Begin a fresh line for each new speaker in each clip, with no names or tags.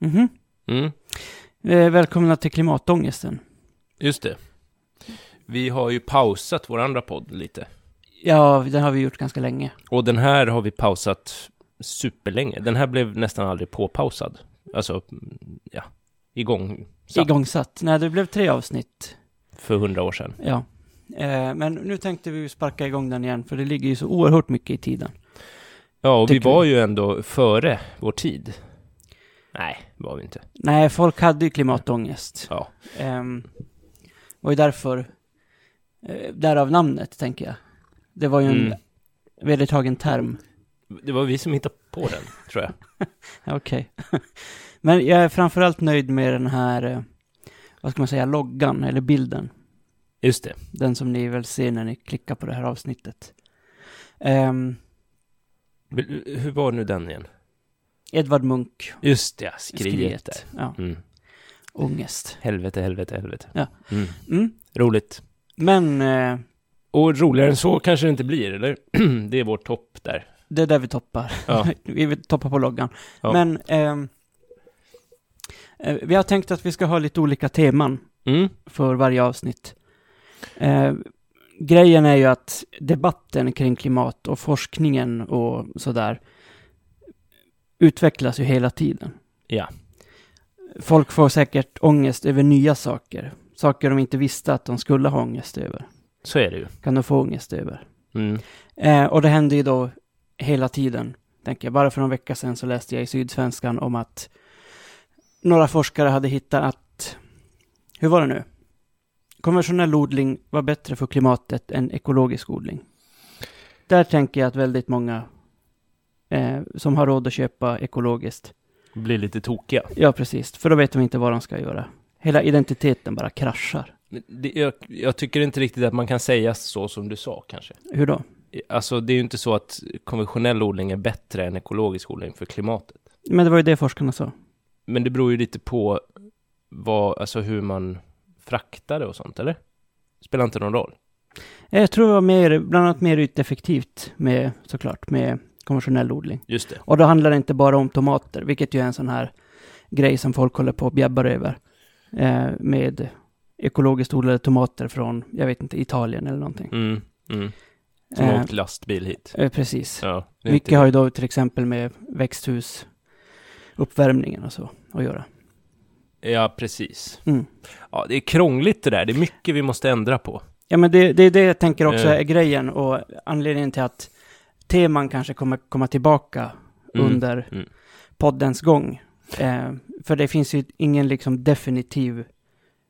Mhm.
Mm,
Eh, välkomna till klimatångesten.
just det. Vi har ju pausat vår andra podd lite.
Ja, det har vi gjort ganska länge.
Och den här har vi pausat superlänge. Den här blev nästan aldrig påpausad. Alltså, mm, ja, igång satt
Igångsatt. Nej, det blev tre avsnitt.
för hundra år sedan.
Ja. Eh, men nu tänkte vi ju sparka igång den igen, för det ligger ju så oerhört mycket i tiden.
Ja, och vi
Tycker
var
vi.
ju ändå före vår tid. Nej, det var vi inte.
Nej, folk hade ju klimatångest.
Ja.
Ehm, var ju därför, eh, därav namnet, tänker jag. Det var ju en
Mm.
vedertagen term.
Det var vi som hittade på den, tror jag.
Ja, Okej. Men jag är framförallt nöjd med den här, eh, vad ska man säga, loggan eller bilden.
Just det.
Den som ni väl ser när ni klickar på det här avsnittet. Ehm,
Vill- Hur var nu den igen?
Edvard Munch,
Just det, ja, skriet. där.
Ja,
Mm.
ångest.
Helvete, helvete, helvete.
Ja.
Mm.
Mm.
Roligt.
Men eh,
Och roligare än så kanske det inte blir, eller? det är vår topp där.
det är där vi toppar.
Ja.
vi vill toppa på loggan.
Ja.
Men ehm, eh, vi har tänkt att vi ska ha lite olika teman
Mm.
för varje avsnitt. Eh, grejen är ju att debatten kring klimat och forskningen och sådär utvecklas ju hela tiden.
Ja.
Folk får säkert ångest över nya saker. Saker de inte visste att de skulle ha ångest över.
Så är det ju.
Kan de få ångest över.
Mm.
Eh, och det händer ju då hela tiden, tänker jag. Bara för någon vecka sedan så läste jag i Sydsvenskan om att några forskare hade hittat att, hur var det nu? Konventionell odling var bättre för klimatet än ekologisk odling. Där tänker jag att väldigt många eh, som har råd att köpa ekologiskt,
Blir lite tokiga.
ja precis, för då vet de inte vad de ska göra. Hela identiteten bara kraschar.
Men Det, jag, jag tycker inte riktigt att man kan säga så som du sa, kanske.
Hur då?
Alltså, det är ju inte så att konventionell odling är bättre än ekologisk odling för klimatet.
Men det var ju det forskarna sa.
Men det beror ju lite på vad, alltså hur man fraktar det och sånt, eller? Spelar inte någon roll.
Jag tror det var mer, bland annat mer yteffektivt med, såklart, med konventionell odling.
Just det.
Och då handlar det inte bara om tomater, vilket ju är en sån här grej som folk håller på och bjäbbar över. Eh, med ekologiskt odlade tomater från, jag vet inte, Italien eller någonting.
Mm, mm. Som har
Eh,
åkt lastbil hit.
eh, precis.
Ja, det är
Mycket
inte-
har ju då till exempel med växthusuppvärmningen och så att göra.
Ja, precis.
Mm.
Ja, det är krångligt det där. Det är mycket vi måste ändra på.
Ja, men det, det är det jag tänker också
Eh.
är grejen och anledningen till att teman kanske kommer komma tillbaka
Mm,
under
mm.
poddens gång. Eh, för det finns ju ingen liksom definitiv,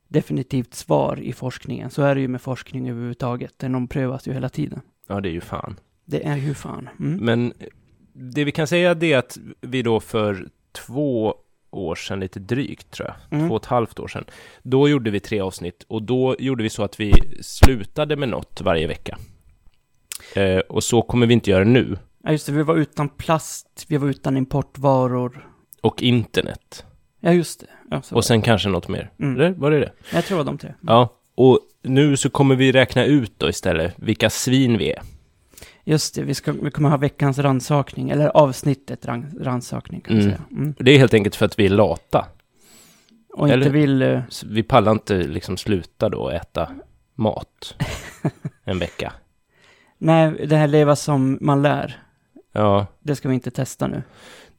definitivt svar i forskningen. Så är det ju med forskning överhuvudtaget. Den omprövas ju hela tiden.
Ja, det är ju fan.
Det är ju fan. Mm.
Men det vi kan säga det är att vi då för två år sedan, lite drygt tror jag,
Mm.
två och ett halvt år sedan, då gjorde vi tre avsnitt och då gjorde vi så att vi slutade med något varje vecka. Eh, och så kommer vi inte göra nu.
Ja, just det. Vi var utan plast, vi var utan importvaror.
Och internet.
Ja, just det. Ja, så.
Och sen kanske något mer.
Mm.
Eller var det det?
Jag tror de tre.
Ja. Och nu så kommer vi räkna ut då istället vilka svin vi är.
Just det, vi, ska, vi kommer ha veckans ransakning, eller avsnittet ran, ransakning kan man
Mm.
säga. Mm.
Det är helt enkelt för att vi är lata.
Och
Eller-
inte vill... eh,
Så Vi pallar inte liksom sluta då och äta mat en vecka.
Nej, det här leva som man lär,
Ja.
det ska vi inte testa nu.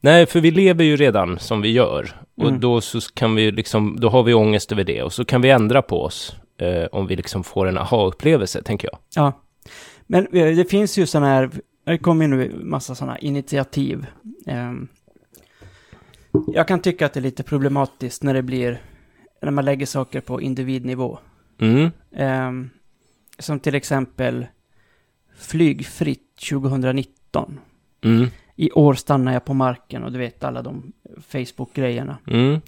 Nej, för vi lever ju redan som vi gör. Och
Mm.
då, så kan vi liksom, då har vi ångest över det. Och så kan vi ändra på oss eh, om vi liksom får en aha-upplevelse, tänker jag.
Ja. Men eh, det finns ju sådana här, det kommer ju nu massa sådana initiativ. Ehm, Jag kan tycka att det är lite problematiskt när det blir, när man lägger saker på individnivå.
Mm.
Ehm, Som till exempel flygfritt 2019.
Mm.
I år stannar jag på marken och du vet alla de Facebook-grejerna.
Mm.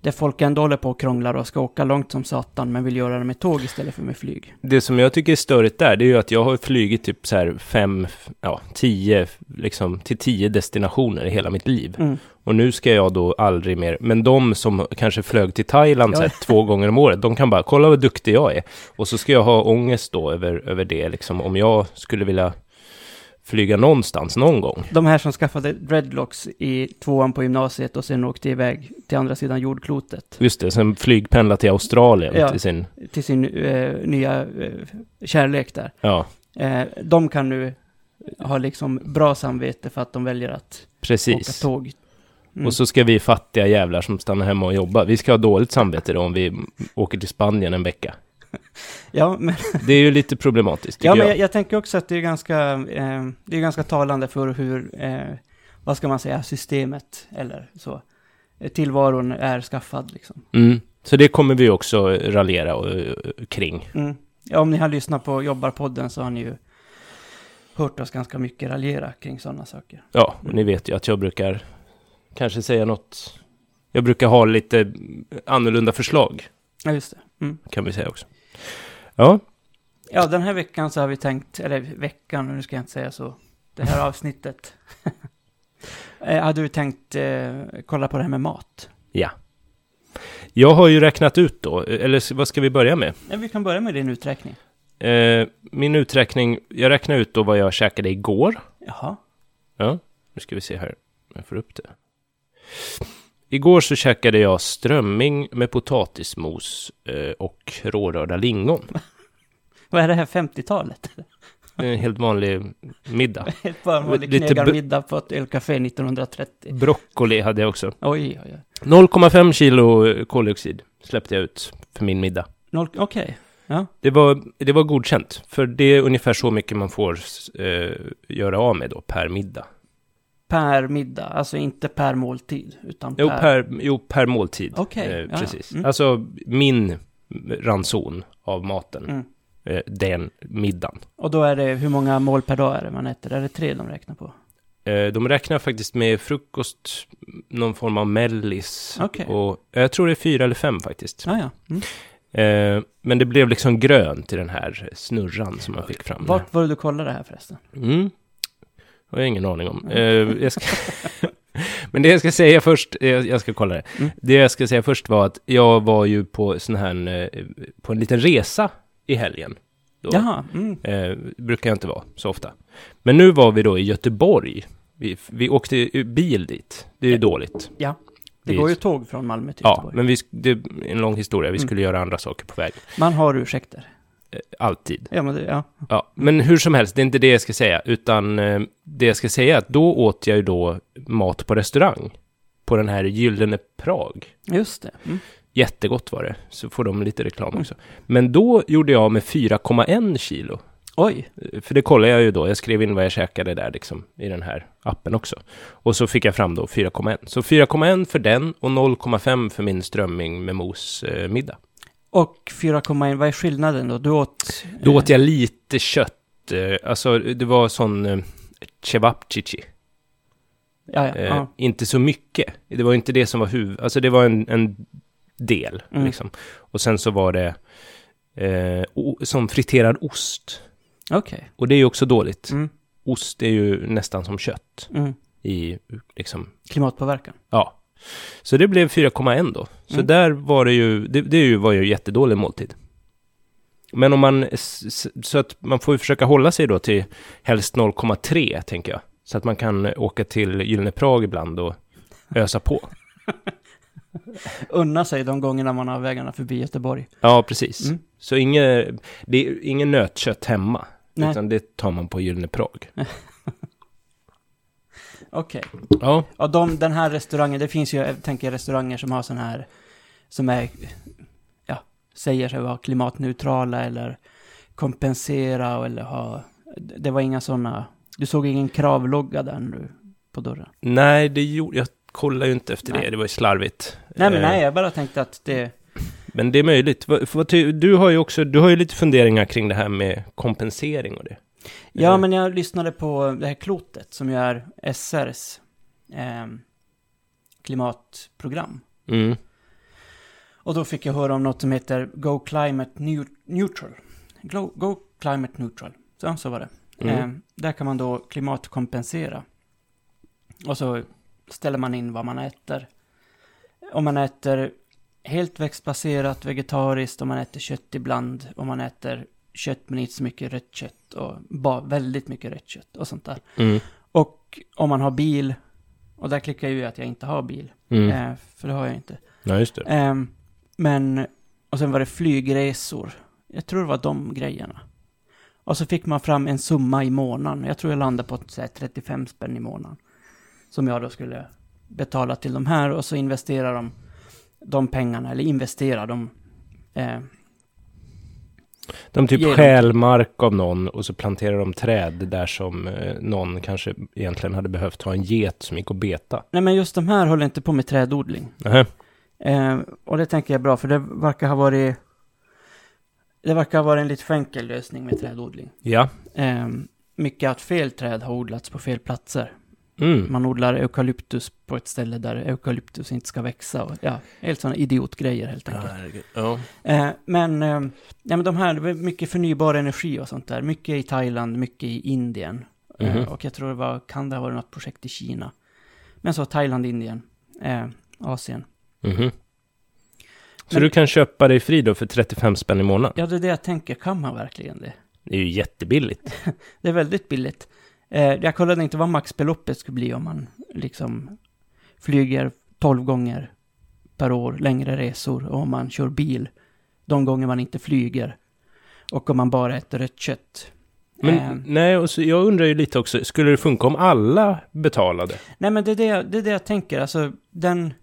Där folk ändå håller på och krånglar och ska åka långt som satan men vill göra det med tåg istället för med flyg.
Det som jag tycker är störigt där, det är ju att jag har flugit typ så här fem, ja, tio, liksom till tio destinationer i hela mitt liv.
Mm.
Och nu ska jag då aldrig mer, men de som kanske flög till Thailand så här, två gånger om året, de kan bara, kolla vad duktig jag är. Och så ska jag ha ångest då över, över det, liksom, om jag skulle vilja flyga någonstans någon gång.
De här som skaffade dreadlocks i tvåan på gymnasiet och sen åkte iväg till andra sidan jordklotet.
Just det, sen flygpendla till Australien
Ja.
till sin...
Till sin eh, nya eh, kärlek där.
Ja,
Eh, de kan nu ha liksom bra samvete för att de väljer att
precis.
åka tåg. Mm.
Och så ska vi fattiga jävlar som stannar hemma och jobbar, vi ska ha dåligt samvete då om vi åker till Spanien en vecka.
Ja, men,
Det är ju lite problematiskt, tycker
ja, men
jag.
jag, jag tänker också att det är ganska, eh, det är ganska talande för hur, eh, vad ska man säga, systemet eller så, eh, tillvaron är skaffad liksom.
Mm. Så det kommer vi också raljera och, eh, kring.
Mm. Ja, om ni har lyssnat på Jobbarpodden så har ni ju hört oss ganska mycket raljera kring sådana saker.
Ja, och ni vet ju att jag brukar kanske säga något... Jag brukar ha lite annorlunda förslag,
Ja, just det. Mm.
kan vi säga också. Ja,
Ja, den här veckan så har vi tänkt, eller veckan, nu ska jag inte säga så, det här avsnittet. Eh, hade du tänkt eh, kolla på det här med mat?
jag har ju räknat ut då, eller s- vad ska vi börja med?
Ja, vi kan börja med din uträkning.
Eh, min uträkning, jag räknade ut då vad jag käkade igår.
Jaha.
Ja, nu ska vi se här om jag får upp det. Igår så käkade jag strömming med potatismos eh, och rårörda lingon.
Vad är det här 50-talet?
En helt vanlig middag.
Ett barnvanligt
Lite
knegarmiddag på ett ölcafé 1930.
Broccoli hade jag också.
Oj, oj, oj.
0,5 kilo koldioxid släppte jag ut för min middag.
Noll- Okej.
Det var, det var godkänt, för det är ungefär så mycket man får eh, göra av med då per middag.
Per middag, alltså inte per måltid, utan
Jo,
per...
per, jo, per måltid. Eh,
Okej, ja, ja.
precis.
Mm.
Alltså min ranson av maten,
Mm.
eh, den middagen.
Och då är det, hur många mål per dag är det man äter? Är det tre de räknar på?
Eh, de räknar faktiskt med frukost, någon form av mellis.
Okej.
Och eh, jag tror det är fyra eller fem faktiskt.
Ah, ja. mm.
Eh, men det blev liksom grönt i den här snurran som man fick fram.
Vart var det du kollade det här förresten?
Mm. har jag ingen aning om. Eh, jag ska... Men det jag ska säga först, eh, jag ska kolla det.
Mm.
Det jag ska säga först var att jag var ju på sån här, eh, på en liten resa i helgen. Då.
Jaha, mm.
Eh, brukar jag inte vara så ofta. Men nu var vi då i Göteborg. Vi, vi åkte ju bil dit. Det är ju dåligt.
Ja.
Det
det
är
går
ju-
ju tåg från Malmö till
Ja,
Göteborg. Mm.
men vi, sk- det är en lång historia. Vi skulle göra andra saker på vägen.
Man har ursäkter.
Eh, alltid.
Ja, men det, ja.
Ja, men hur som helst, det är inte det jag ska säga, utan eh, det jag ska säga är att då åt jag ju då mat på restaurang på den här Gyllene Prag.
Just det. Mm.
Jättegott var det, så får de lite reklam också. Men då gjorde jag med 4,1 kilo,
Oj,
Eh, för det kollade jag ju då, jag skrev in vad jag käkade där liksom i den här appen också. Och så fick jag fram då 4,1. Så 4,1 för den och 0,5 för min strömming med mos eh, middag.
och 4,1, vad är skillnaden då? Du åt...
Då åt jag lite kött, eh, alltså det var sån eh, cevapcici.
Ja, ja,
Eh,
ja.
Inte så mycket. Det var inte det som var huvud... Alltså det var en, en del,
Mm.
liksom. Och sen så var det eh, o- som friterad ost.
Okej.
Och det är ju också dåligt.
Mm.
Ost är ju nästan som kött
Mm.
i, liksom,
Klimatpåverkan.
ja. Så det blev 4,1 då. Så
Mm.
där var det ju, det, det är ju- var ju jättedålig måltid. Men om man, s- s- så att man får ju försöka hålla sig då till helst 0,3 tänker jag. Så att man kan åka till Gyllene Prag ibland och ösa på.
Unna sig de gångerna man har vägarna förbi Göteborg.
Ja, precis.
Mm.
Så inget, det är ingen nötkött hemma,
Nej.
utan det tar man på Gyllene Prag.
Okej.
Ja,
Ja, de, den här restaurangen, det finns ju, jag tänker restauranger som har sån här, som är, ja, säger sig vara klimatneutrala eller kompensera eller ha, det var inga sådana, du såg ingen kravlogga där nu på dörren?
nej, det gjorde, jag kollar ju inte efter det,
Nej.
det var ju slarvigt.
Nej, men
Eh,
nej, jag bara tänkte att det,
Men det är möjligt. Vad- för vad ty- Du har ju också, du har ju lite funderingar kring det här med kompensering och det.
ja,
Eh,
men jag lyssnade på det här klotet som ju är SRs ehm, klimatprogram.
Mm.
Och då fick jag höra om något som heter Go Climate Neu- Neutral. Go, Go Climate Neutral. Så, så var det. Eh,
Mm.
där kan man då klimatkompensera. Och så ställer man in vad man äter. Om man äter helt växtbaserat, vegetariskt, om man äter kött ibland, om man äter kött men inte så mycket rött kött och bara väldigt mycket rött kött och sånt där.
Mm.
Och om man har bil, och där klickar jag ju att jag inte har bil,
Mm.
eh, för det har jag inte.
Ja, just det.
Ehm, men, och sen var det flygresor. Jag tror det var de grejerna. Och så fick man fram en summa i månaden. Jag tror jag landade på så här, 35 spänn i månaden. Som jag då skulle betala till de här och så investerar de de pengarna, eller investerar de. Eh,
De typ
Genom-
stjäl mark av någon och så planterar de träd där som eh, någon kanske egentligen hade behövt ha en get som gick och beta.
nej men just de här höll inte på med trädodling.
Nähä.
Eh, och det tänker jag är bra, för det verkar ha varit... Det verkar ha varit en lite för enkel lösning med trädodling.
Ja.
Eh, mycket att fel träd har odlats på fel platser.
Mm.
Man odlar eukalyptus på ett ställe där eukalyptus inte ska växa. Och, ja, helt sådana idiotgrejer helt enkelt.
Ja.
Eh, men, eh, ja, men de här, det var mycket förnybar energi och sånt där. Mycket i Thailand, mycket i Indien.
Mhm.
Eh, och jag tror det var, kan det ha varit något projekt i Kina? Men så Thailand, Indien, eh, Asien.
Mhm. Så
Men-
du kan köpa dig fri då för 35 spänn i månaden?
Ja, det är det jag tänker, kan man verkligen det?
Det är ju jättebilligt.
Det är väldigt billigt. Eh, jag kollade inte vad maxbeloppet skulle bli om man liksom flyger 12 gånger per år, längre resor, och om man kör bil de gånger man inte flyger. Och om man bara äter rött kött.
Men
Eh,
nej, och så, jag undrar ju lite också, skulle det funka om alla betalade?
nej, men det är det, det är det jag tänker. Alltså, den...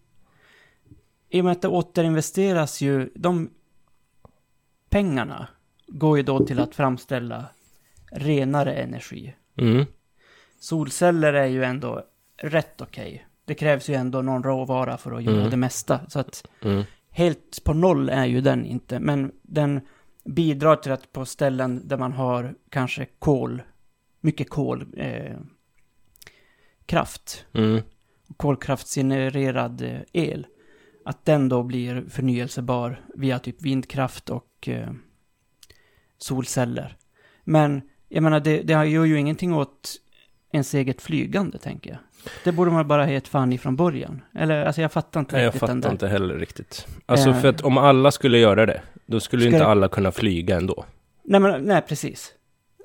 I och med att det återinvesteras ju, de pengarna går ju då till att framställa renare energi.
Mm.
Solceller är ju ändå rätt okej. Det krävs ju ändå någon råvara för att göra
Mm.
det mesta. Så att
Mm.
helt på noll är ju den inte. Men den bidrar till att på ställen där man har kanske kol, mycket kol, eh, kraft,
Mm.
kolkraftsgenererad eh, el, att den då blir förnyelsebar via typ vindkraft och eh, solceller. Men jag menar, det, det gör ju ingenting åt ens eget flygande, tänker jag. Det borde man bara ha gett fan i från början. Eller, alltså jag fattar inte
Nej, jag
riktigt den
fattar
där.
inte heller riktigt. Alltså
Eh.
för att om alla skulle göra det, då skulle ju
Ska
inte
det-
alla kunna flyga ändå.
Nej, men, nej, precis.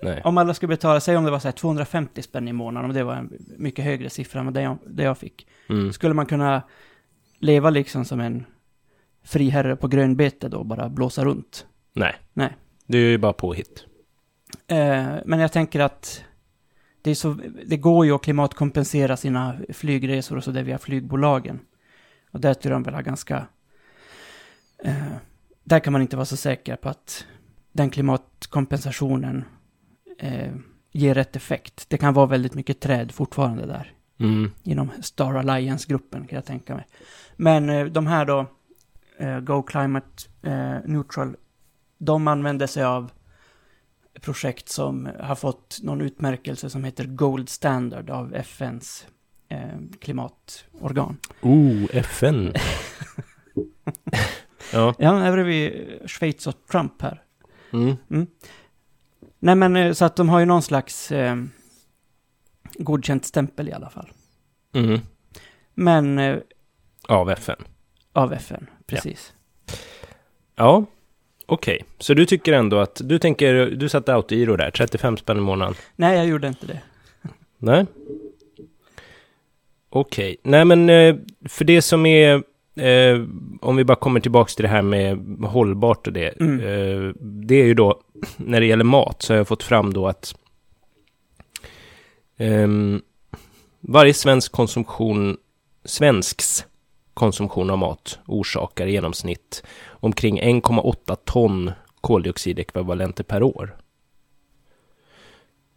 Nej.
Om alla skulle betala, säg om det var så här 250 spänn i månaden, om det var en mycket högre siffra än det jag, det jag fick.
Mm.
Skulle man kunna leva liksom som en friherre på grönbete då, bara blåsa runt?
Nej.
Nej.
Det är ju bara påhitt.
Eh, men jag tänker att det, är så, det går ju att klimatkompensera sina flygresor och så där via flygbolagen. Och där tror jag de väl har ganska... Eh, där kan man inte vara så säker på att den klimatkompensationen eh, ger rätt effekt. Det kan vara väldigt mycket träd fortfarande där
Mm.
inom Star Alliance-gruppen kan jag tänka mig. Men eh, de här då, eh, Go Climate eh, Neutral, de använder sig av projekt som har fått någon utmärkelse som heter Gold Standard av FNs eh, klimatorgan.
Oh, FN. ja.
Ja, här är vi eh, Schweiz och Trump här.
Mm.
Nej men eh, så att de har ju någon slags eh, godkänt stämpel i alla fall.
Mm.
Men eh,
Av FN.
av FN, precis.
Ja. Okej, så du tycker ändå att, du tänker, du satte autogiro där, 35 spänn i månaden.
Nej, jag gjorde inte det.
Nej. Okej. Nej, men eh, för det som är... Eh, om vi bara kommer tillbaka till det här med hållbart och det.
Mm.
Eh, det är ju då, när det gäller mat, så har jag fått fram då att... ehm, varje svensk konsumtion, svensks konsumtion av mat orsakar i genomsnitt omkring 1,8 ton koldioxidekvivalenter per år.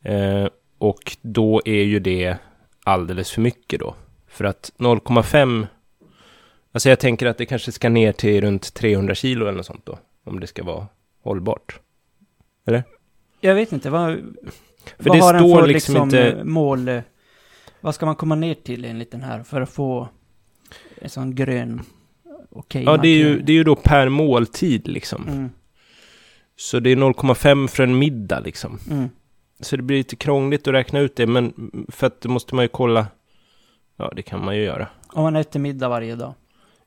Eh, och då är ju det alldeles för mycket då. För att 0,5... Alltså jag tänker att det kanske ska ner till runt 300 kilo eller något sånt då. Om det ska vara hållbart.
Jag vet inte, vad,
För
vad
det
har den
står
för
liksom
liksom,
inte-
mål? eh, Vad ska man komma ner till enligt den här för att få en sån grön okej
Ja, det är ju,
markering?
det är ju då per måltid liksom.
Mm,
Så det är 0,5 för en middag liksom.
mm.
Så det blir lite krångligt att räkna ut det, men för att då måste man ju kolla... Ja, det kan man ju göra.
Om man äter middag varje dag.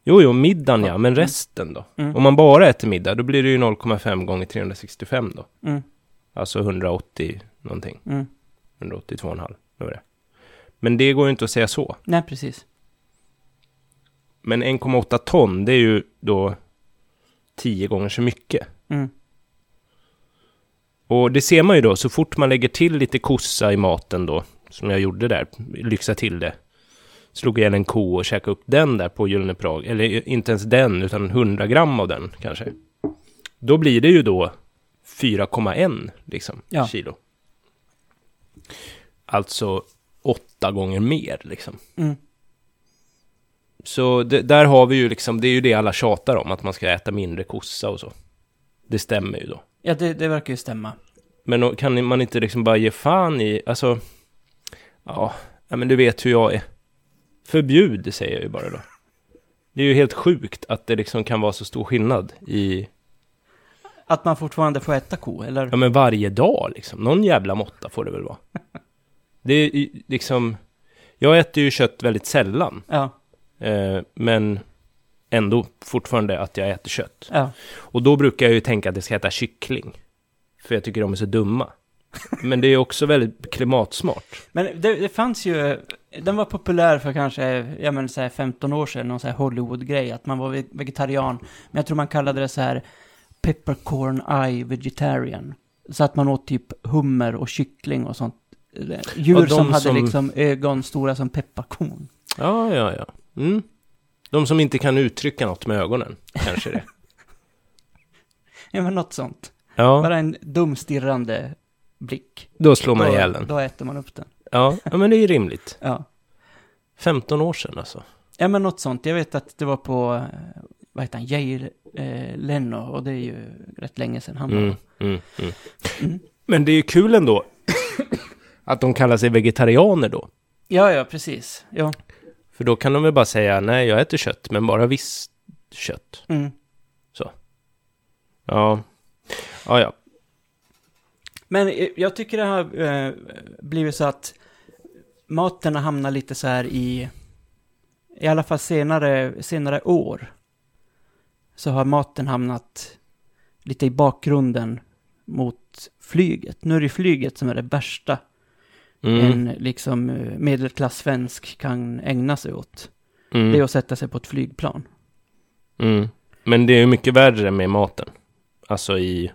Jo, jo, middagen ja, men
Mm.
resten då?
Mm.
Om man bara äter middag, då blir det ju 0,5 gånger 365 då.
Mm.
Alltså 180 någonting.
Mm.
182,5. Det var det. Men det går ju inte att säga så.
Nej, precis.
Men 1,8 ton, det är ju då 10 gånger så mycket.
Mm.
Och det ser man ju då, så fort man lägger till lite kossa i maten då, som jag gjorde där, lyxa till det. Slog igen en ko och käkade upp den där på Gyllene Prag, eller inte ens den, utan 100 gram av den kanske. Då blir det ju då 4,1 liksom,
Ja.
kilo. Alltså åtta gånger mer liksom.
Mm.
Så det, där har vi ju liksom, det är ju det alla tjatar om, att man ska äta mindre kossa och så. Det stämmer ju då.
Ja, det, det verkar ju stämma.
Men då kan man inte liksom bara ge fan i, alltså, ja, ja, men du vet hur jag är. Förbjud, säger jag ju bara då. Det är ju helt sjukt att det liksom kan vara så stor skillnad i,
Att man fortfarande får äta ko, eller?
ja men varje dag liksom. Någon jävla måtta får det väl vara. Det är ju liksom, jag äter ju kött väldigt sällan,
Ja,
eh, men ändå fortfarande att jag äter kött.
ja.
Och då brukar jag ju tänka att jag ska äta kyckling, för jag tycker de är så dumma. Men det är också väldigt klimatsmart.
Men det, det fanns ju, den var populär för kanske, ja men så här 15 år sedan, någon så här Hollywood-grej, att man var ve- vegetarian. Men jag tror man kallade det så här peppercorn eye vegetarian. Så att man åt typ hummer och kyckling och sånt. Eller Djur
Ja, de
som hade
som-
liksom ögon stora som pepparkorn.
Ja, ja, ja. Mm. De som inte kan uttrycka något med ögonen, kanske det.
Ja men något sånt.
Ja,
Bara en dum stirrande blick.
då slår man
Då-
ihjäl den.
Då äter man upp den.
Ja, ja, men det är ju rimligt.
Ja.
15 år sedan alltså.
Ja, men något sånt. Jag vet att det var på, eh, vad heter han, Jair eh, Leno, och det är ju rätt länge sedan han
Mm,
var.
mm, mm.
Mm.
Men det är ju kul ändå att de kallar sig vegetarianer då.
Ja, ja, precis. Ja,
För då kan de väl bara säga nej, jag äter kött, men bara visst kött.
mm.
Ja, ja, ja.
Men eh, jag tycker det har eh, blivit så att maten hamnar lite så här i, i alla fall senare, senare år, så har maten hamnat lite i bakgrunden mot flyget. Nu är det flyget som är det värsta
Mm,
en liksom eh, medelklass-svensk kan ägna sig åt. Det är
mm,
att sätta sig på ett flygplan.
mm. Men det är ju mycket värre med maten. Alltså i...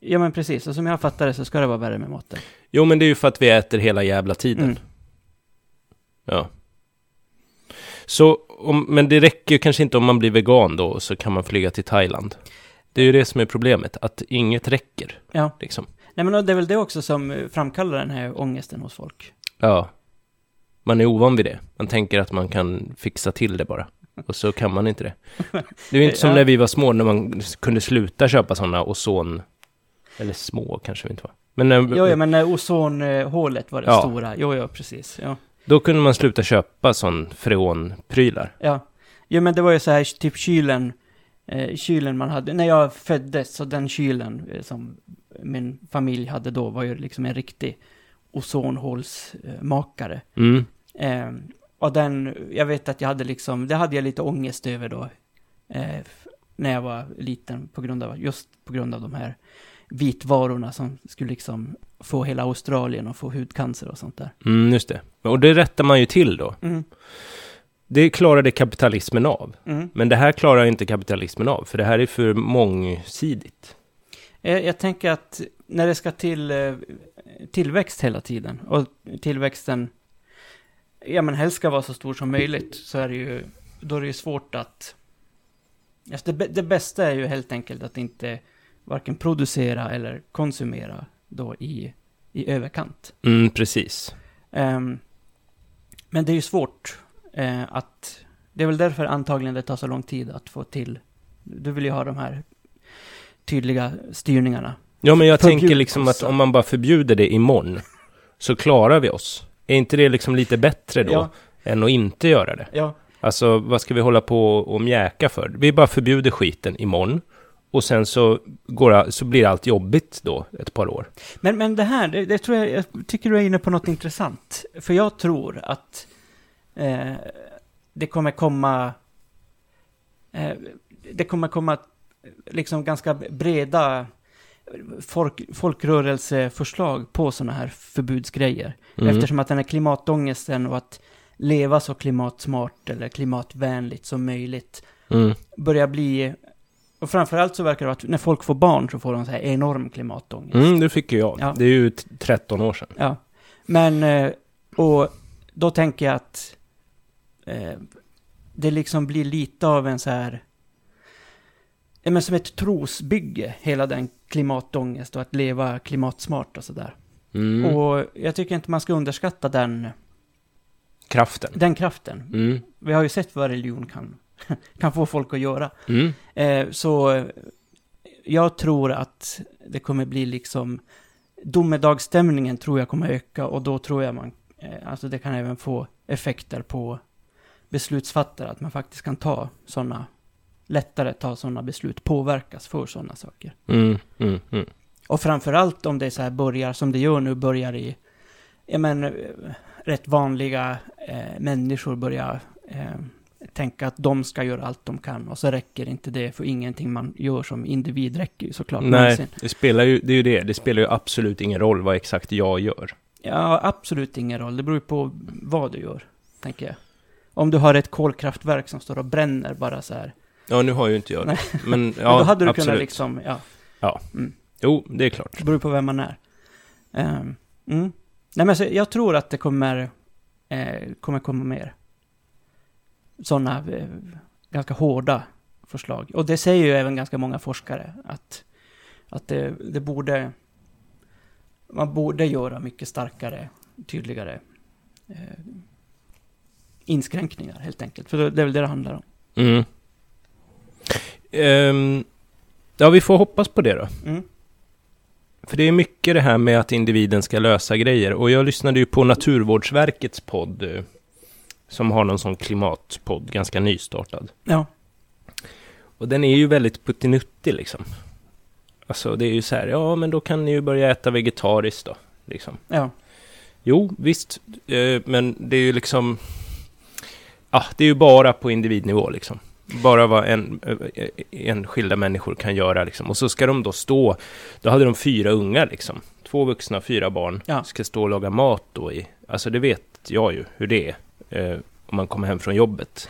Ja men precis, och som jag fattar det så ska det vara värre med maten.
Jo, men det är ju för att vi äter hela jävla tiden.
Mm.
Ja. Så, om, men det räcker ju kanske inte om man blir vegan då, och så kan man flyga till Thailand. Det är ju det som är problemet, att inget räcker,
Ja,
liksom.
nej men och det är väl det också som eh, framkallar den här ångesten hos folk.
Ja. Man är ovan vid det. Man tänker att man kan fixa till det bara. Och så kan man inte det. Det är ju inte som
Ja.
när vi var små, när man kunde sluta köpa sådana ozon... Eller små kanske vi inte var. Men, eh, när,
Jo, ja men när ozonhålet var det
Mm. Ja.
stora. Jo, ja precis. Ja.
då kunde man sluta köpa sån freonprylar.
ja. Jo men det var ju så här typ kylen, eh, kylen man hade, när jag föddes så den kylen eh, som min familj hade då var ju liksom en riktig ozonhålsmakare.
Mm.
Eh, och den, jag vet att jag hade liksom, det hade jag lite ångest över då. Eh, f- när jag var liten, på grund av, just på grund av de här vitvarorna som skulle liksom få hela Australien att få hudcancer och sånt där.
Mm, just det. Och det rättar man ju till då.
Mm,
Det klarade kapitalismen av.
mm.
Men det här klarar inte kapitalismen av, för det här är för mångsidigt.
Eh, jag tänker att när det ska till eh, tillväxt hela tiden och tillväxten, ja men helst ska vara så stor som möjligt, så är det ju, då är det ju svårt att, alltså det, bä- det bästa är ju helt enkelt att inte varken producera eller konsumera då i, i överkant.
Mm, precis.
Ehm, men det är ju svårt eh, att, det är väl därför antagligen det tar så lång tid att få till, du vill ju ha de här tydliga styrningarna.
Ja, men jag
Förbjud
tänker liksom att
kossa.
om man bara förbjuder det imorgon, så klarar vi oss. Är inte det liksom lite bättre då,
Ja.
än att inte göra det?
Ja,
Alltså, vad ska vi hålla på och mjäka för? Vi bara förbjuder skiten imorgon, och sen så, går, så blir allt jobbigt då, ett par år.
Men, men det här, det, det tror jag, jag tycker du är inne på något intressant. För jag tror att eh, det kommer komma, eh, det kommer komma liksom ganska breda folk, folkrörelseförslag på sådana här förbudsgrejer.
Mm.
Eftersom att den här klimatångesten och att leva så klimatsmart eller klimatvänligt som möjligt
Mm.
börjar bli... Och framförallt så verkar det vara att när folk får barn så får de så här enorm klimatångest.
Mm, det fick ju jag.
Ja.
Det är ju t- 13 år sedan.
Ja. Men, eh, och då tänker jag att eh, det liksom blir lite av en så här... ja, Men som ett trosbygge, hela den klimatångest och att leva klimatsmart och sådär.
Mm.
Och jag tycker inte man ska underskatta den,
Kraften.
den kraften.
Mm.
Vi har ju sett vad religion kan, kan få folk att göra.
Mm.
Eh, så eh, jag tror att det kommer bli liksom domedagsstämningen tror jag kommer öka och då tror jag man, eh, alltså det kan även få effekter på beslutsfattare, att man faktiskt kan ta sådana, lättare ta sådana beslut, påverkas för sådana saker.
Mm. Mm. Mm.
Och framförallt om det så här börjar, som det gör nu, börjar i, ja men, eh, rätt vanliga eh, människor börjar eh, tänka att de ska göra allt de kan och så räcker inte det, för ingenting man gör som individ räcker ju såklart
Nej,
någonsin.
det spelar ju, det är ju det. Det spelar ju absolut ingen roll vad exakt jag gör.
Ja, absolut ingen roll, det beror ju på vad du gör, tänker jag. Om du har ett kolkraftverk som står och bränner bara så här.
Ja, nu har ju inte jag det. Men, ja,
men då hade du
absolut.
kunnat liksom, ja,
Jo, det är klart.
Det beror på vem man är. Ehm, mm. Nej, men så jag tror att det kommer, eh, kommer komma mer sådana eh, ganska hårda förslag. Och det säger ju även ganska många forskare att, att det, det borde, man borde göra mycket starkare, tydligare eh, inskränkningar helt enkelt. För det, det är väl det det handlar om.
Mm. Ehm, ja, vi får hoppas på det då.
Mm.
För det är mycket det här med att individen ska lösa grejer. Och jag lyssnade ju på Naturvårdsverkets podd, eh, som har någon sån klimatpodd, ganska nystartad.
Ja.
Och den är ju väldigt puttinuttig liksom. Alltså det är ju så här, ja men då kan ni ju börja äta vegetariskt då. Liksom.
Ja.
Jo, visst, eh, men det är ju liksom... Ja, det är ju bara på individnivå liksom. Bara vad en, eh, enskilda människor kan göra liksom. Och så ska de då stå... Då hade de fyra ungar liksom. Två vuxna, fyra barn.
Ja.
Ska stå och laga mat då i... Alltså det vet jag ju hur det är. Eh, om man kommer hem från jobbet.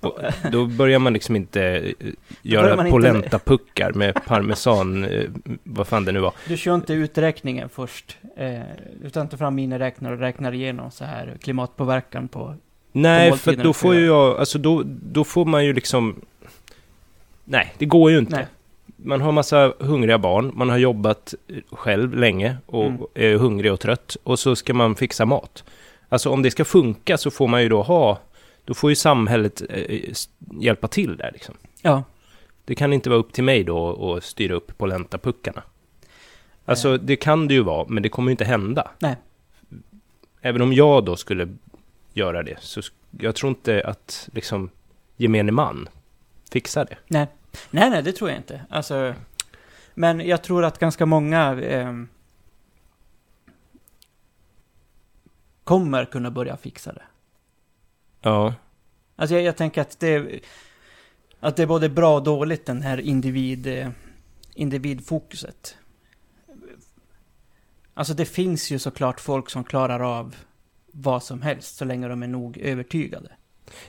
Och då börjar man liksom inte eh,
börjar
göra
man inte-
polentapuckar med parmesan, eh, vad fan det nu var.
Du kör inte uträkningen först, eh, utan tar fram miniräknare och räknar igenom så här klimatpåverkan på...
Nej,
måltiden
för att då
för
får
jag.
ju jag, alltså då, då får man ju liksom... Nej, det går ju inte.
Nej.
Man har massa hungriga barn, man har jobbat eh, själv länge och
Mm.
är hungrig och trött och så ska man fixa mat. Alltså om det ska funka så får man ju då ha, då får ju samhället eh, s- hjälpa till där liksom.
Ja,
Det kan inte vara upp till mig då att styra upp polentapuckarna. Alltså
Nej.
det kan det ju vara, men det kommer ju inte hända.
Nej.
Även om jag då skulle göra det, så sk- jag tror inte att liksom gemene man fixar det.
nej, nej, det tror jag inte. Alltså, men jag tror att ganska många ehm, kommer kunna börja fixa det.
Ja.
Alltså jag, jag tänker att det, att det är både bra och dåligt den här individ, eh, individfokuset. Alltså det finns ju såklart folk som klarar av vad som helst så länge de är nog övertygade.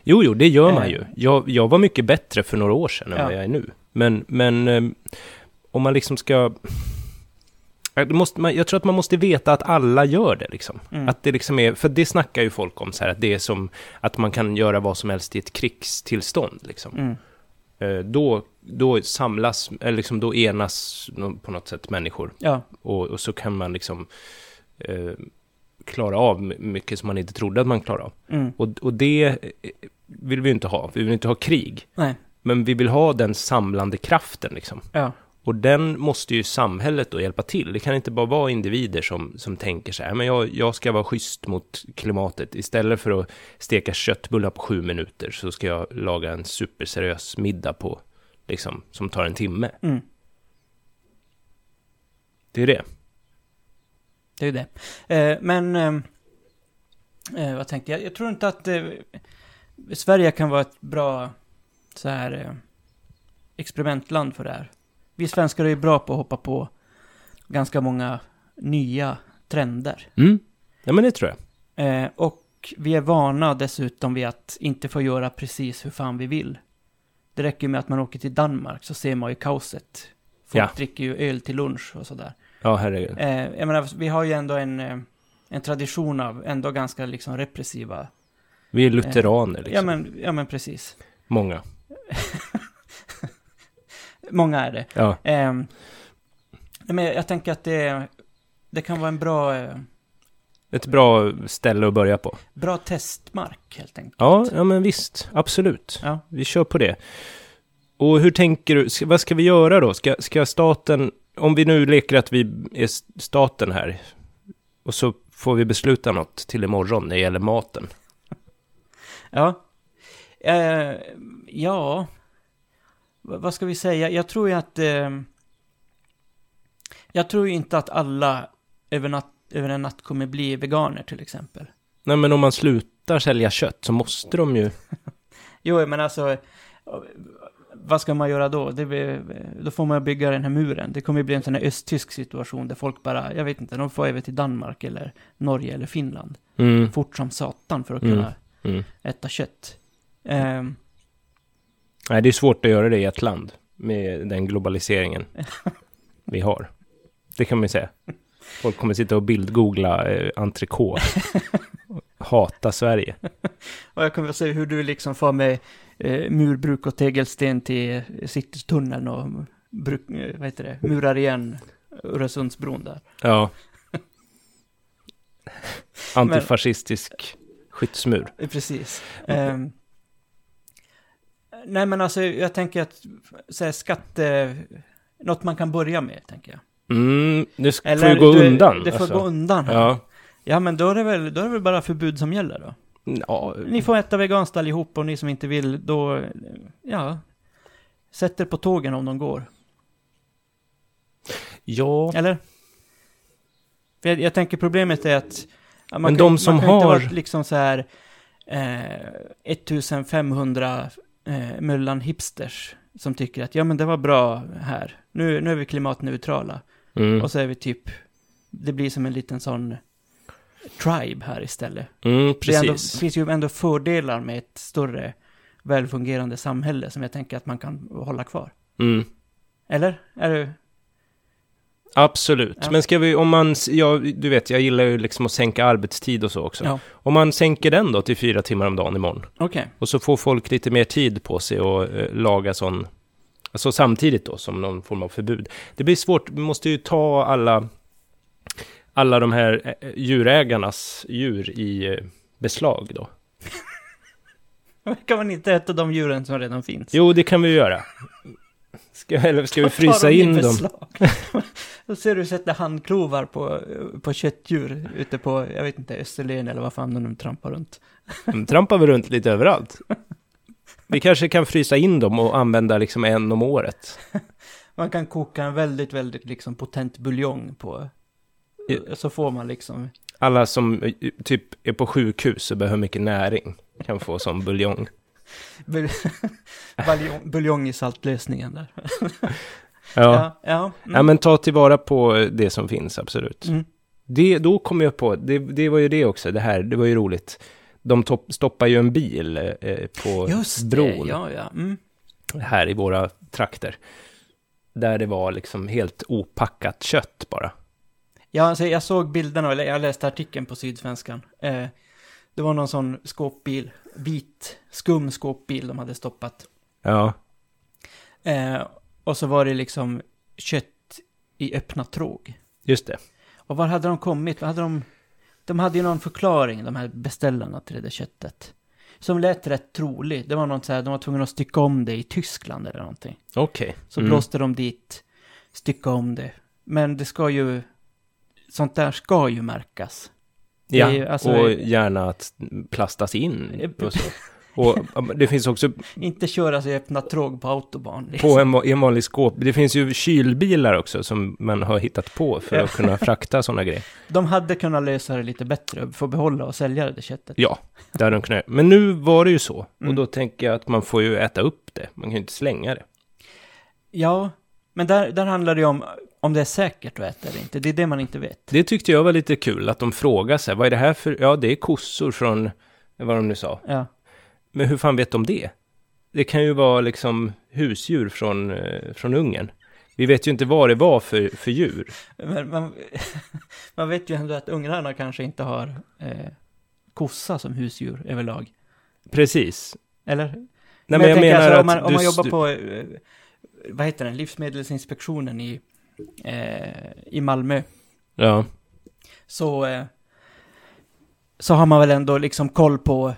Jo, jo, det gör man
Eh.
ju. Jag, jag var mycket bättre för några år sedan än
Ja.
vad jag är nu. Men, men eh, om man liksom ska... Ja, det Måste man, jag tror att man måste veta att alla gör det liksom.
Mm.
Att det liksom är, för det snackar ju folk om så här, att det är som att man kan göra vad som helst i ett krigstillstånd liksom.
Mm.
Eh, Då, då samlas, eller liksom då enas no- på något sätt människor.
Ja,
Och, och så kan man liksom eh, klara av my- mycket som man inte trodde att man klarade av.
mm.
Och, och det eh, vill vi ju inte ha. Vi vill inte ha krig.
nej,
Men vi vill ha den samlande kraften liksom.
ja,
Och den måste ju samhället då hjälpa till. Det kan inte bara vara individer som, som tänker så här, men jag, jag ska vara schysst mot klimatet. Istället för att steka köttbullar på sju minuter så ska jag laga en superseriös middag på, liksom, som tar en timme.
mm.
Det är det.
det är ju det. Eh, men, ehm, eh, vad tänkte jag? Jag tror inte att eh, Sverige kan vara ett bra så här eh, experimentland för det här. Vi svenskar är ju bra på att hoppa på ganska många nya trender.
Mm. Ja, men det tror jag.
Eh, och vi är vana dessutom vid att inte få göra precis hur fan vi vill. Det räcker med att man åker till Danmark så ser man ju kaoset. Folk
Ja.
dricker ju öl till lunch och sådär.
Ja, herregud.
Eh, jag menar, vi har ju ändå en, eh, en tradition av ändå ganska liksom repressiva.
Vi är lutheraner, liksom.
Eh, Ja, men, ja men precis.
Många.
Många är det.
Ja.
Eh, nej, men jag, jag tänker att det, det kan vara en bra, eh,
Ett bra ställe att börja på.
bra testmark helt enkelt.
Ja, ja men visst. Absolut.
Ja.
Vi kör på det. Och hur tänker du? Ska, vad ska vi göra då? Ska, ska staten... Om vi nu leker att vi är s- staten här. Och så får vi besluta något till imorgon när det gäller maten.
Ja. Eh, ja. V- vad ska vi säga? Jag tror ju att... Eh, jag tror ju inte att alla över, natt, över en natt kommer bli veganer till exempel.
Nej, men om man slutar sälja kött så måste de ju...
Jo, men alltså... eh, Vad ska man göra då? Det blir, då får man bygga den här muren. Det kommer ju bli en sån här östtysk situation där folk bara, jag vet inte, de får över till Danmark eller Norge eller Finland.
Mm.
Fort som satan för att
Mm.
kunna
Mm.
äta kött. Ehm,
Nej, det är svårt att göra det i ett land med den globaliseringen vi har. Det kan man ju säga. Folk kommer sitta och bildgoogla eh, entrecote. Hata Sverige.
Och jag kommer att se hur du liksom får med eh, murbruk och tegelsten till Citytunneln och bruk, eh, vad heter det, murar igen Öresundsbron där.
Ja. Antifascistisk skyddsmur.
Eh, Precis. Ehm, nej men alltså jag tänker att så här, skatte, något man kan börja med tänker jag.
Mm, det sk- får ju gå
du-
undan.
Det får
alltså.
gå undan. här.
Ja.
ja men då är, det väl, då är det väl bara förbud som gäller då.
ja.
Ni får äta veganskt allihop och ni som inte vill då, eh, ja, sätt er på tågen om de går.
Ja.
Eller? För jag, jag tänker problemet är att... ja,
Men de som
man kan ju
har-
Inte vara liksom så här... Eh, 1500 eh, möllan hipsters som tycker att ja men det var bra här. Nu, nu är vi klimatneutrala.
Mm.
Och så är vi typ... Det blir som en liten sån tribe här istället.
Mm,
Det, är ändå, det
precis.
finns ju ändå fördelar med ett större välfungerande samhälle som jag tänker att man kan hålla kvar.
Mm.
Eller? Är du...
Absolut.
Ja.
Men ska vi, om man, s- ja, du vet, jag gillar ju liksom att sänka arbetstid och så också.
Ja.
Om man sänker den då till fyra timmar om dagen imorgon.
Okej.
Och så får folk lite mer tid på sig att eh, laga sån, alltså samtidigt då, som någon form av förbud. Det blir svårt, vi måste ju ta alla, alla de här eh, djurägarnas djur i eh, beslag då.
Kan man inte äta de djuren som redan finns?
Jo, det kan vi göra. Ska, eller ska vi
Då tar
frysa
de i
in dem?
beslag. Då ser du sätta handklovar på, på köttdjur ute på, jag vet inte, Österlen eller vad fan de nu trampar runt.
De Mm, trampar väl runt lite överallt. Vi kanske kan frysa in dem och använda liksom en om året.
Man kan koka en väldigt, väldigt liksom potent buljong på,
Ja.
så får man liksom,
Alla som eh, typ är på sjukhus och behöver mycket näring kan få sån buljong.
bul- buljong- buljong i saltlösningen där.
Ja.
ja, mm,
Ja, men ta tillvara på eh, det som finns, absolut.
mm.
Det, då kom jag på, det, det var ju det också, det här, det var ju roligt. De topp, stoppar ju en bil eh, på
Just
bron
det, ja, ja. Mm.
här i våra trakter. Där det var liksom helt opackat kött bara.
Ja, alltså, jag såg bilderna, eller jag läste artikeln på Sydsvenskan. Eh, det var någon sån skåpbil, vit, skum skåpbil de hade stoppat.
Ja,
Eh, och så var det liksom kött i öppna tråg.
just det.
Och var hade de kommit? Vad hade de... De hade ju någon förklaring, de här beställarna till det där köttet. Som lät rätt trolig. Det var något så här, de var tvungna att stycka om det i Tyskland eller någonting.
Okej.
Så
Mm.
blåste de dit, stycka om det. Men det ska ju... Sånt där ska ju märkas. det är ju-
Ja,
alltså- eh,
och gärna att plastas in. Och, så. och ja, men det finns också
Inte köras i öppna tråg på autobahn. liksom.
på en, va- i en vanlig skåp, det finns ju kylbilar också som man har hittat på för att kunna frakta sådana grejer.
De hade kunnat lösa det lite bättre, och få behålla och sälja det där köttet.
Ja, det hade de kunnat göra. Men nu var det ju så. Och
Mm.
då tänker jag att man får ju äta upp det. Man kan ju inte slänga det.
Ja, men där, där handlar det ju om om det är säkert att äta eller inte. Det är det man inte vet.
Det tyckte jag var lite kul, att de frågade sig, vad är det här för, ja det är kossor från, vad de nu sa.
Ja.
Men hur fan vet de det? Det kan ju vara liksom husdjur från, eh, från Ungern. Vi vet ju inte vad det var för, för djur.
Men man, man vet ju ändå att ungrarna kanske inte har eh, kossa som husdjur överlag.
Precis.
Eller?
Nej, men,
men
jag,
tänker
menar
alltså,
att
om man, om man
du-
jobbar
du-
på, eh, vad heter den, Livsmedelsinspektionen i, eh, i Malmö,
Ja,
så, eh, så har man väl ändå liksom koll på,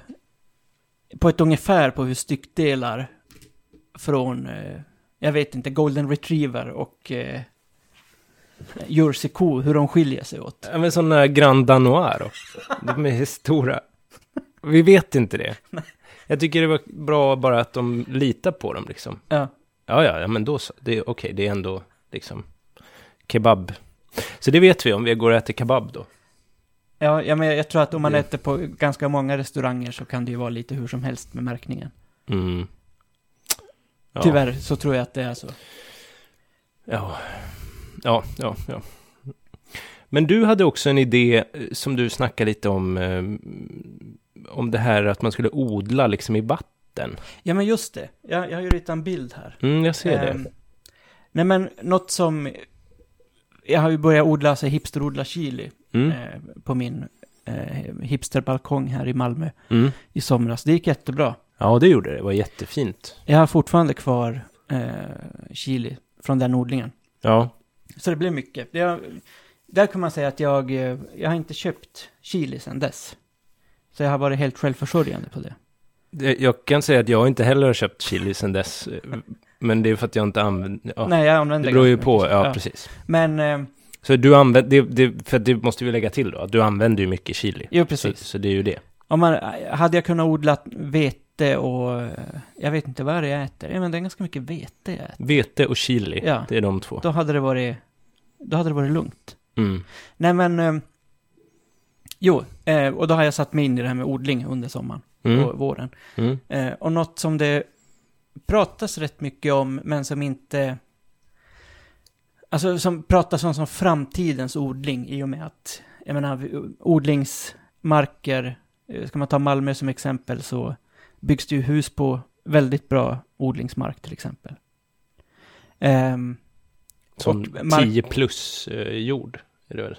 på ett ungefär på hur styckdelar från, eh, jag vet inte, Golden Retriever och eh, Jersey Ko, hur de skiljer sig åt.
Ja, men sådana Grand Danois då. De är stora. Vi vet inte det. Jag tycker det var bra bara att de litar på dem liksom.
Ja.
Ja, ja, ja men då så. Det är okej, det är ändå liksom kebab. Så det vet vi om vi går och äter kebab då.
Ja, ja men jag, jag tror att om man
Det-
äter på ganska många restauranger så kan det ju vara lite hur som helst med märkningen.
Mm. Ja.
Tyvärr så tror jag att det är så.
Ja. ja, ja, ja. Men du hade också en idé eh, som du snackade lite om, eh, om det här att man skulle odla liksom i vatten.
Ja, men just det. Jag, jag har ju ritat en bild här.
Mm, jag ser det.
Ehm, nej, men något som... Jag har ju börjat odla, alltså hipsterodla chili
Mm,
eh, på min eh, hipsterbalkong här i Malmö
mm.
i somras. Det gick jättebra.
Ja, det gjorde det. Det var jättefint.
Jag har fortfarande kvar eh, chili från den odlingen.
Ja,
Så det blir mycket. Det, där kan man säga att jag, eh, jag har inte köpt chili sedan dess. Så jag har varit helt självförsörjande på det.
det, jag kan säga att jag inte heller har köpt chili sedan dess. eh, Men det är för att jag inte använder... Ja,
Nej, jag använder
det beror ju
ganska
på.
mycket.
Ja, precis.
Men, eh,
Så du använder... Det, det, för det måste vi lägga till då. att Du använder ju mycket chili.
jo
Så,
precis.
så det är ju det.
Om man, hade jag kunnat odla vete och, eh, jag vet inte vad det är jag äter. Ja, men det är ganska mycket vete jag äter.
Vete och chili,
Ja.
det är de två.
Då hade det varit, då hade det varit lugnt.
Mm.
Nej men, eh, jo, eh, och då har jag satt mig in i det här med odling under sommaren
Mm.
och våren.
Mm.
Eh, och något som det pratas rätt mycket om, men som inte... Alltså som pratas om som framtidens odling i och med att, jag menar, vi- odlingsmarker, eh, ska man ta Malmö som exempel så byggs det ju hus på väldigt bra odlingsmark till exempel. Ehm,
Som
Och mark-
10 plus eh, jord, är det väl?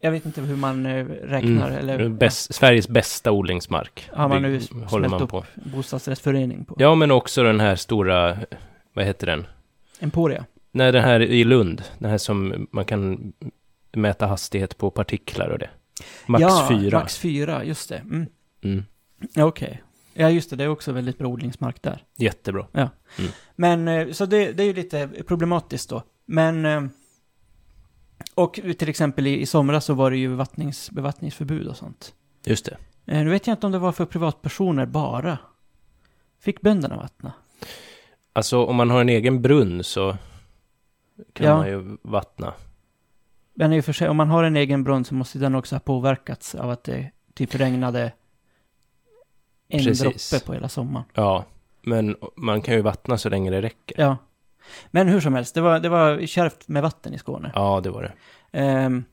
jag vet inte hur man eh, räknar,
Mm.
eller
Det är bäst, Sveriges bästa odlingsmark.
Har man nu
Bygg- håller
smält
man
upp?
på.
bostadsrättsförening på.
Ja, men också den här stora, vad heter den?
Emporia.
Nej, den här i Lund. Den här som man kan mäta hastighet på partiklar och det. Max
ja,
4.
Max 4, just det. Mm.
Mm.
Ja, Okej. Ja, just det, det är också väldigt bra odlingsmark där.
Jättebra.
Men eh, så det, det är ju lite problematiskt då. Men... eh, Och till exempel i, i somras så var det ju bevattnings, bevattningsförbud och sånt.
Just det.
Eh, Nu vet jag inte om det var för privatpersoner bara. Fick bönderna vattna?
Alltså, om man har en egen brunn så kan
Ja.
man ju vattna.
Men i och för sig, om man har en egen brunn så måste den också ha påverkats av att det typ regnade en
Precis.
droppe på hela sommaren.
Ja, men man kan ju vattna så länge det räcker.
Ja. Men hur som helst, det var, det var kärvt med vatten i Skåne.
Ja, det var det.
Ehm,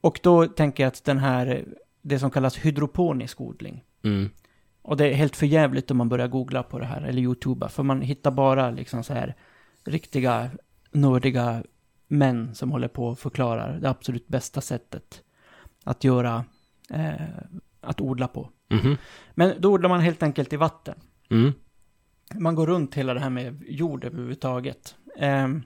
och då tänker jag att den här, det som kallas hydroponisk odling,
Mm.
och det är helt förjävligt om man börjar googla på det här, eller youtuba, för man hittar bara liksom så här riktiga nördiga män som håller på och förklarar det absolut bästa sättet att göra, eh, att odla på.
Mhm.
Men då odlar man helt enkelt i vatten.
Mm.
Man går runt hela det här med jord överhuvudtaget. Ehm,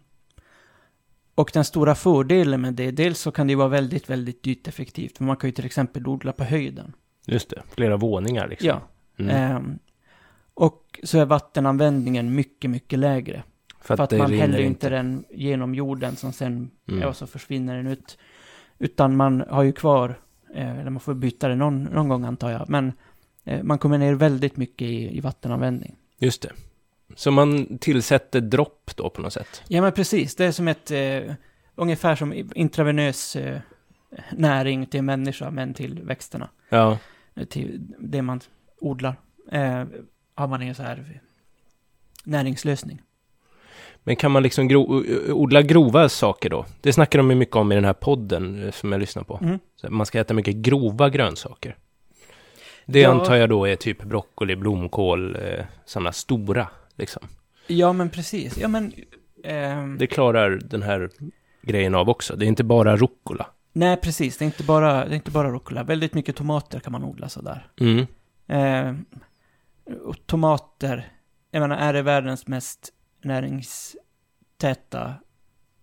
och den stora fördelen med det, dels så kan det ju vara väldigt, väldigt dyrt effektivt. För man kan ju till exempel odla på höjden.
Just det. Flera våningar liksom.
Ja.
Mm.
Ehm, och så är vattenanvändningen mycket, mycket lägre.
för att,
för att
det
man
rinner
häller ju
inte.
inte den genom jorden som sen,
Mm.
ja, så försvinner den ut. Utan man har ju kvar, eh, eller man får byta det någon, någon gång antar jag, men eh, man kommer ner väldigt mycket i, i vattenanvändning.
Just det. Så man tillsätter dropp då på något sätt.
Ja, men precis. Det är som ett, eh, ungefär som i- intravenös eh, näring till människa, men till växterna.
Ja.
eh, Till det man odlar. Eh, har man en så här näringslösning.
Men kan man liksom gro odla grova saker då? Det snackar de ju mycket om i den här podden eh, som jag lyssnar på.
Mm.
Så man ska äta mycket grova grönsaker. Det
Ja.
antar jag då är typ broccoli, blomkål, eh, sådana stora. Liksom.
Ja, men precis. Ja, men... ehm,
Det klarar den här grejen av också. Det är inte bara rucola.
Nej, precis. Det är inte bara, det är inte bara rucola. Väldigt mycket tomater kan man odla sådär.
Mm.
Eh, och tomater, jag menar, är det världens mest näringstäta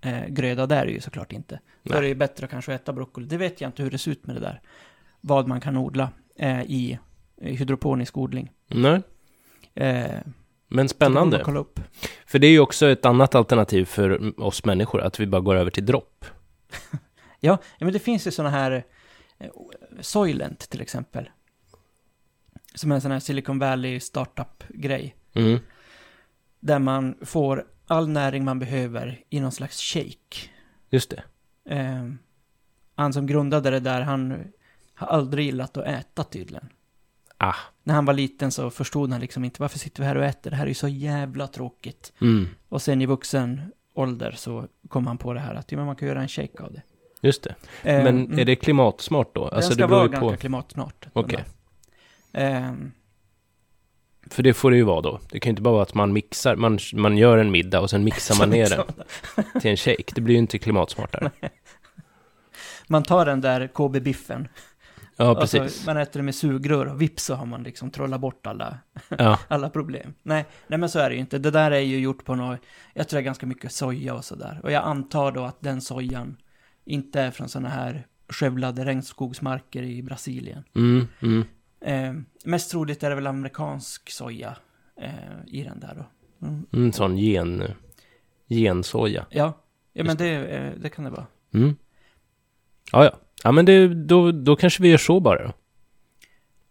eh, gröda? Det är det ju såklart inte. Då
Nej.
är det ju bättre att kanske äta broccoli. Det vet jag inte hur det ser ut med det där. Vad man kan odla eh, i, i hydroponisk odling.
Nej,
Eh, så
men
det får man
spännande.
Kolla upp.
För det är ju också ett annat alternativ för oss människor, att vi bara går över till dropp.
Ja, ja, men det finns ju sådana här eh, Soylent till exempel. Som är en sån här Silicon Valley startup-grej.
Mm.
Där man får all näring man behöver i någon slags shake.
Just det.
Eh, han som grundade det där, han har aldrig gillat att äta tydligen.
Ah.
När han var liten så förstod han liksom inte varför sitter vi här och äter, det här är ju så jävla tråkigt.
Mm.
Och sen i vuxen ålder så kom han på det här att ja, men man kan göra en shake av det.
Just det.
Eh,
Men
mm.
är det klimatsmart då? Alltså
den ska
det beror
vara
ju på.
ganska klimatsmart. den
Okej.
där. Ehm,
För det får det ju vara då. Det kan ju inte bara vara att man mixar, man, man gör en middag och sen mixar man ner
liksom,
den till en shake. Det blir ju inte klimatsmartare.
Man tar den där KB-biffen.
Ja,
Alltså,
precis.
man äter det med sugrör och vips så har man liksom trollat bort alla,
Ja,
alla problem. Nej, nej, men så är det ju inte. Det där är ju gjort på något, jag tror det är ganska mycket soja och sådär. Och jag antar då att den sojan inte är från sådana här skövlade regnskogsmarker i Brasilien.
mm, mm.
Eh, mest troligt är det väl amerikansk soja eh, i den där då. Mm.
En sån gen, gensoja.
Ja, ja men
Just
det, eh, det kan det vara.
Mm. Ja, ja. Ja, men det, då, då kanske vi gör så bara då.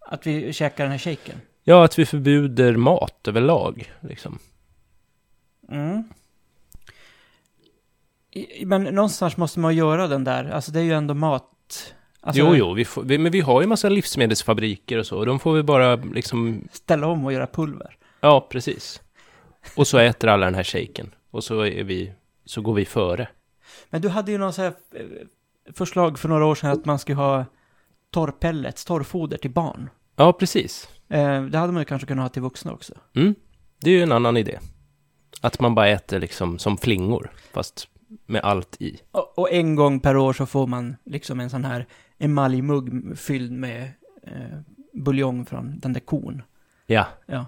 Att vi käkar den här shaken.
Ja, att vi förbjuder mat överlag, liksom.
Mm. I- Men någonstans måste man göra den där, alltså det är ju ändå mat. Alltså,
jo, jo, vi får, vi, men vi har ju massa livsmedelsfabriker och så, och de får vi bara liksom,
Ställa om och göra pulver.
ja, precis. Och så äter alla den här shaken, och så är vi, så går vi före.
Men du hade ju någon så här eh, förslag för några år sedan att man skulle ha torrpellets, torrfoder till barn.
Ja, precis.
Eh, Det hade man ju kanske kunnat ha till vuxna också.
Mm. Det är ju en annan idé. Att man bara äter liksom som flingor, fast med allt i.
Och och en gång per år så får man liksom en sån här emaljmugg fylld med eh, buljong från den där kon.
Ja.
Ja.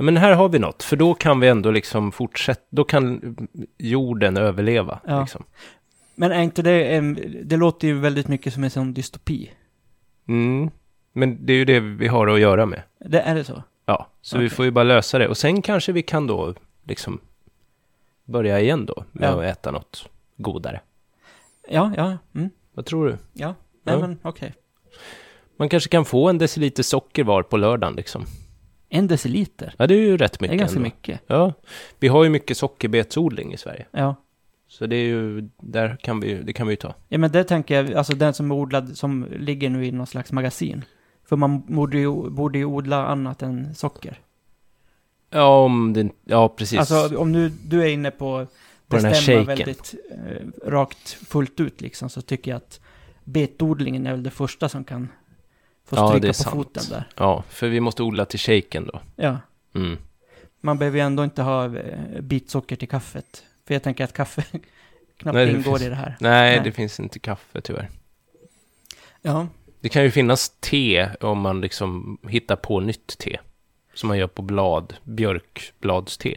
Men här har vi något, för då kan vi ändå liksom fortsätta, då kan jorden överleva.
Ja.
Liksom.
Men är inte det, en, det låter ju väldigt mycket som en sån dystopi.
Mm. Men det är ju det vi har att göra med.
Det, är det så?
Ja, så vi
Okej.
får ju bara lösa det. Och sen kanske vi kan då liksom börja igen då med
Ja.
att äta något godare.
Ja, ja, mm.
Vad tror du?
Ja, nej
Ja.
men okej.
Man kanske kan få en deciliter socker var på lördagen liksom.
En deciliter,
Ja, det är ju rätt
det
mycket
är ganska
ändå.
mycket.
Ja, vi har ju mycket sockerbetsodling i Sverige.
Ja.
Så det är ju, där kan vi, ju- det kan vi ju ta.
ja, men det tänker jag, alltså den som är odlad, som ligger nu i någon slags magasin. För man borde ju, borde ju odla annat än socker.
Ja, om det, ja precis.
Alltså om nu du är inne på
På den här
bestämma
shaken.
väldigt eh, rakt fullt ut liksom, så tycker jag att betodlingen är väl det första som kan få
Ja,
stryka
det är
på
sant.
foten där.
ja, för vi måste odla till shaken då.
Ja,
Mm.
man behöver ju ändå inte ha eh, bitsocker till kaffet. För jag tänker att kaffe knappt
Nej, det
ingår
finns-
i det här.
Nej,
Nej.
det finns inte kaffe tyvärr.
Ja,
Det kan ju finnas te om man liksom hittar på nytt te. Som man gör på blad, björkbladste.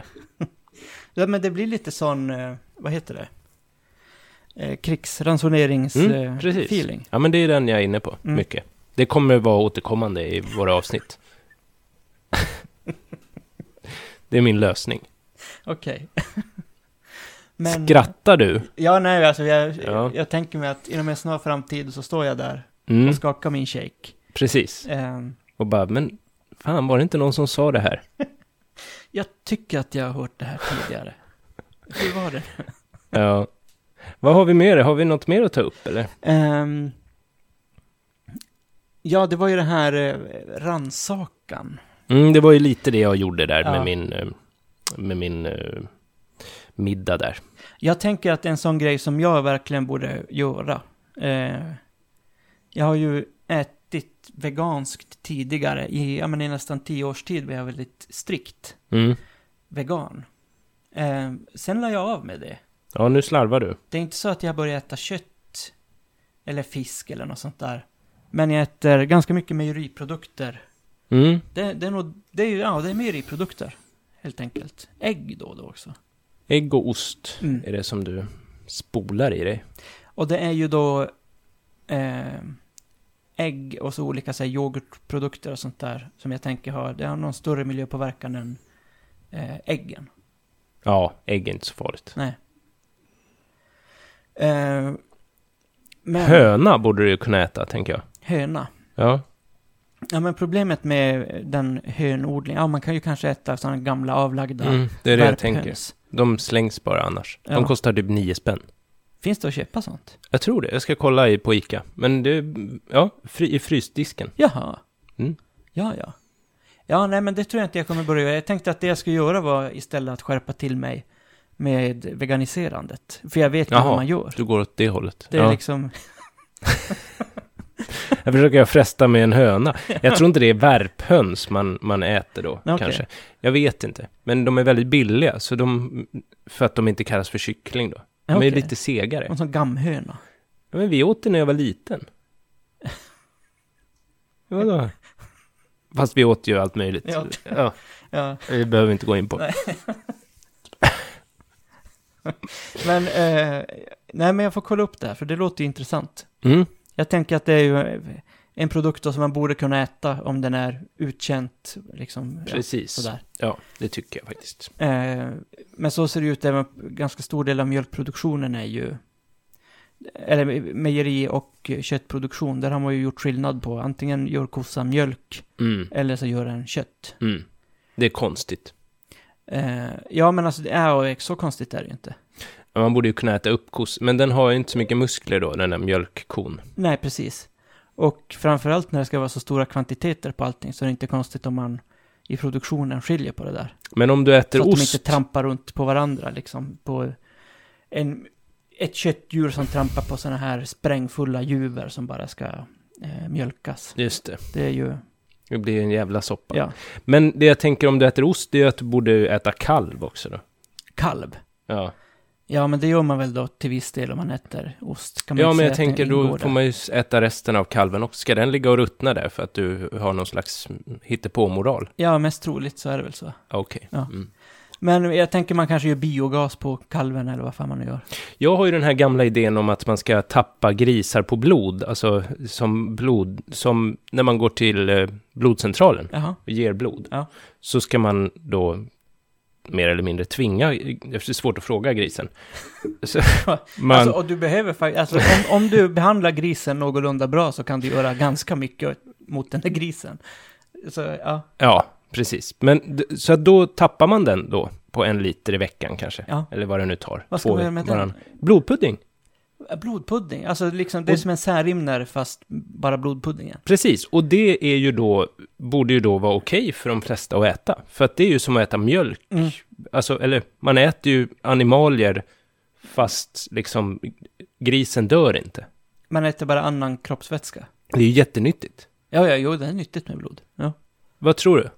Ja, men det blir lite sån, eh, vad heter det? Eh, krigsransoneringsfeeling.
Mm,
Mm,
precis. Ja, men det är den jag är inne på,
Mm.
mycket. Det kommer vara återkommande i våra avsnitt. det är min lösning.
Okej. men,
Skrattar du?
Ja, nej, alltså jag,
Ja.
jag tänker mig att inom en snar framtid så står jag där
Mm,
och skakar min shake.
precis.
Eh,
Och bara, men fan var det inte någon som sa det här?
jag tycker att jag har hört det här tidigare. Hur var det?
Ja. Vad har vi mer? Har vi något mer att ta upp eller?
Ehm, ja, det var ju det här eh, ransakan.
Mm, det var ju lite det jag gjorde där
Ja.
med min, eh, med min eh, middag där.
Jag tänker att det är en sån grej som jag verkligen borde göra. Eh, jag har ju ätit veganskt tidigare, i, ja, men i nästan tio års tid var jag väldigt strikt
Mm.
vegan. Eh, sen la jag av med det.
Ja, nu slarvar du.
Det är inte så att jag börjar äta kött eller fisk eller något sånt där. Men jag äter ganska mycket mejeriprodukter.
Mm.
Det, det är nog, det är ju, ja, det är mejeriprodukter. Helt enkelt. Ägg då och då också.
Ägg och ost
Mm.
är det som du spolar i dig.
Och det är ju då eh, ägg och så olika så här, yoghurtprodukter och sånt där som jag tänker har, det har någon större miljöpåverkan än eh, äggen.
Ja, ägg är inte så farligt.
Nej. Eh, men,
Höna borde du ju kunna äta, tänker jag.
höna.
Ja.
Ja men problemet med den hönodlingen, ja man kan ju kanske äta sådana gamla avlagda
Mm, det är det jag
värphöns.
tänker. De slängs bara annars.
Ja.
De kostar typ nio spänn.
Finns det att köpa sånt?
Jag tror det. Jag ska kolla i, på Ica. Men det, ja, fri, i frysdisken.
Jaha.
Mm.
Ja, ja. Ja, nej men det tror jag inte jag kommer börja göra. Jag tänkte att det jag skulle göra var istället att skärpa till mig med veganiserandet. För jag vet ju
Jaha.
hur man gör.
Du går åt det hållet.
Det är
ja.
liksom,
Jag försöker fresta med en höna. Jag tror inte det är värphöns man, man äter då,
Okej.
kanske. Jag vet inte. Men de är väldigt billiga, så de, för att de inte kallas för kyckling då. De
Okej.
är lite segare.
en sån gammhöna.
Ja, men vi åt det när jag var liten. Vadå? Fast vi åt ju allt möjligt.
Ja.
Ja,
Ja.
det behöver vi inte gå in på.
Men, eh, nej men jag får kolla upp det här, för det låter ju intressant.
Mm.
Jag tänker att det är ju en produkt då som man borde kunna äta om den är uttjänt, liksom. Ja,
Precis.
sådär.
Ja, det tycker jag faktiskt.
Eh, men så ser det ut, även ganska stor del av mjölkproduktionen är ju, eller mejeri och köttproduktion, där har man ju gjort skillnad på, antingen gör kossan mjölk
Mm.
eller så gör den kött.
Mm. Det är konstigt.
Eh, ja men alltså, det är ju- så konstigt är det ju inte.
Men Man borde ju kunna äta upp kos, men den har ju inte så mycket muskler då, den där mjölkkon.
Nej, precis. Och framförallt när det ska vara så stora kvantiteter på allting så är det inte konstigt om man i produktionen skiljer på det där.
Men om du äter
Så att de
ost...
inte trampar runt på varandra liksom. På en, ett köttdjur som trampar på sådana här sprängfulla juver som bara ska eh, mjölkas.
Just det,
Det är ju,
det blir en jävla soppa.
ja,
Men det jag tänker om du äter ost, det är ju att du borde äta kalv också då.
kalv.
Ja,
Ja, men det gör man väl då till viss del om man äter ost. Kan man
ja
inte
men
säga
jag
att
tänker
det
då
ingår
får
där?
man ju äta resten av kalven också. Ska den ligga och ruttna där för att du har någon slags hittepåmoral?
Ja, mest troligt så är det väl så.
Ja, Okej.
Ja.
Mm.
Men jag tänker man kanske gör biogas på kalven eller vad fan man nu gör.
Jag har ju den här gamla idén om att man ska tappa grisar på blod, alltså som blod, som när man går till eh, blodcentralen.
Jaha.
och ger blod,
Ja.
så ska man då mer eller mindre tvinga, det är svårt att fråga grisen. Så, man,
Alltså, och du behöver faktiskt, alltså, om, om du behandlar grisen någorlunda bra så kan du göra ganska mycket mot den där grisen. Så, ja,
Ja, precis. Men, d- så att då tappar man den då på en liter i veckan kanske,
Ja.
eller vad det nu tar.
Vad ska
Två
man
ve-
göra med den?
varann. Blodpudding,
blodpudding, alltså liksom, det är
Och-
som en särrimnare fast bara blodpuddingen.
precis. Och det är ju då, borde ju då vara okej för de flesta att äta, för att det är ju som att äta mjölk.
Mm.
Alltså, eller man äter ju animalier, fast liksom grisen dör inte.
Man äter bara annan kroppsvätska.
Det är ju jättenyttigt.
Ja, ja, jo, det är nyttigt med blod. Ja.
Vad tror du?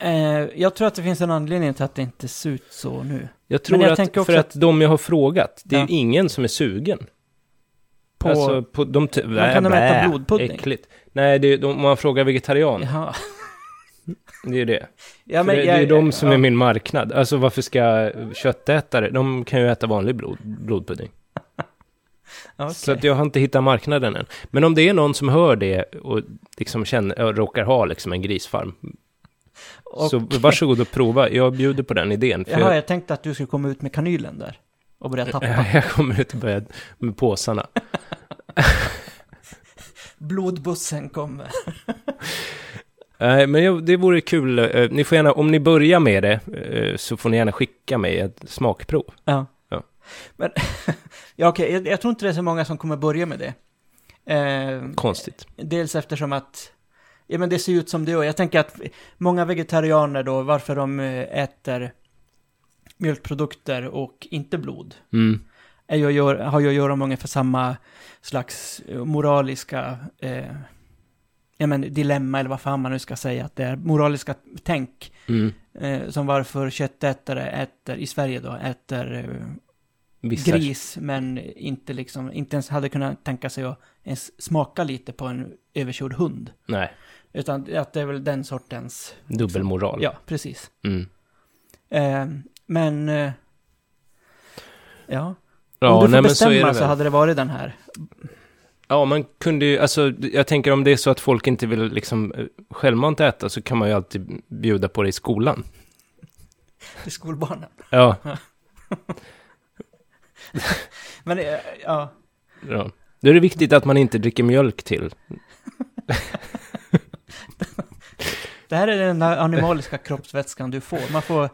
Eh, jag tror att det finns en anledning till att det inte ser ut så nu.
Jag tror
jag
att,
tänker också
för att, de jag har frågat, det är
Ja.
ju ingen som är sugen.
På,
alltså, på de... T-
Men kan de äta blodpudding?
Äckligt. Nej, det är, de, om man frågar vegetarian,
jaha.
det är ju det.
Ja,
För det, det är ju
jag-
de som
ja.
är min marknad. Alltså varför ska köttätare, de kan ju äta vanlig blod, blodpudding.
Ja, okej.
Så att jag har inte hittat marknaden än. Men om det är någon som hör det och liksom känner, ja, råkar ha liksom en grisfarm,
Och-
så varsågod och prova. Jag bjuder på den idén. För
Jaha,
jag,
jag tänkte att du skulle komma ut med kanylen där. Och börja tappa.
jag kommer ut och börjar med påsarna.
Blodbussen kommer.
Nej, Eh, men jag, det vore kul. eh, Ni får gärna, om ni börjar med det, eh, så får ni gärna skicka mig ett smakprov.
Ja.
Ja.
Men, ja okej, jag, jag tror inte det är så många som kommer börja med det. Eh,
Konstigt.
dels eftersom att, ja men det ser ut som det gör. Jag tänker att många vegetarianer då, varför de eh, äter mjölkprodukter och inte blod
Mm.
är jag gör, har jag att göra med ungefär samma slags eh, moraliska eh, ja, men dilemma, eller vad fan man nu ska säga att det är, moraliska tänk,
Mm.
eh, som varför köttätare äter, i Sverige då, äter eh,
Vissa.
gris, men inte, liksom, inte ens hade kunnat tänka sig att ens smaka lite på en överkörd hund.
Nej,
Utan att det är väl den sortens...
dubbelmoral.
Ja, precis.
Mm.
Eh, men... Eh, ja.
Ja,
Om du får
nej, men så, är
bestämma
det
så,
väl.
hade det varit den här.
Ja, man kunde ju, alltså jag tänker om det är så att folk inte vill liksom eh, självmant äta så kan man ju alltid bjuda på det i skolan.
Till skolbarnen.
Ja,
Men eh, ja,
ja. Då är det viktigt att man inte dricker mjölk till.
det här är den där animaliska kroppsvätskan du får. Man får...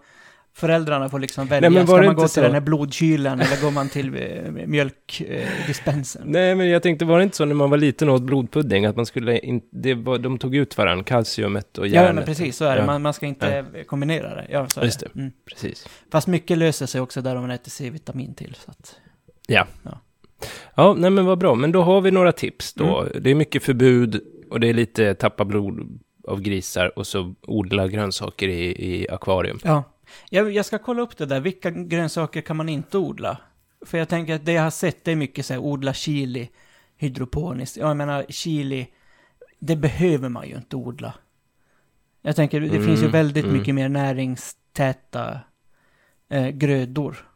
Föräldrarna får liksom välja,
men var
ska
det
man gå till
inte så?
den här blodkylen eller går man till eh, mjölkdispensen?
Nej, men jag tänkte, var det inte så när man var liten och åt blodpudding att man skulle in, det var, de tog ut varandra, kalciumet och järnet?
ja, men precis, så är det.
Ja.
Man, man ska inte kombinera det. Ja, så är
Just
det. Mm.
Precis.
Fast mycket löser sig också där om man äter C-vitamin till. Så att,
Ja, nej men vad bra. Men då har vi några tips då.
Mm.
Det är mycket förbud och det är lite tappa blod av grisar och så odla grönsaker i, i akvarium.
ja. jag, jag ska kolla upp det där, vilka grönsaker kan man inte odla? För jag tänker att det jag har sett det är mycket så här, odla chili hydroponiskt. Ja, Jag menar chili, det behöver man ju inte odla. Jag tänker, det
Mm,
finns ju väldigt
mm.
mycket mer näringstäta eh, grödor.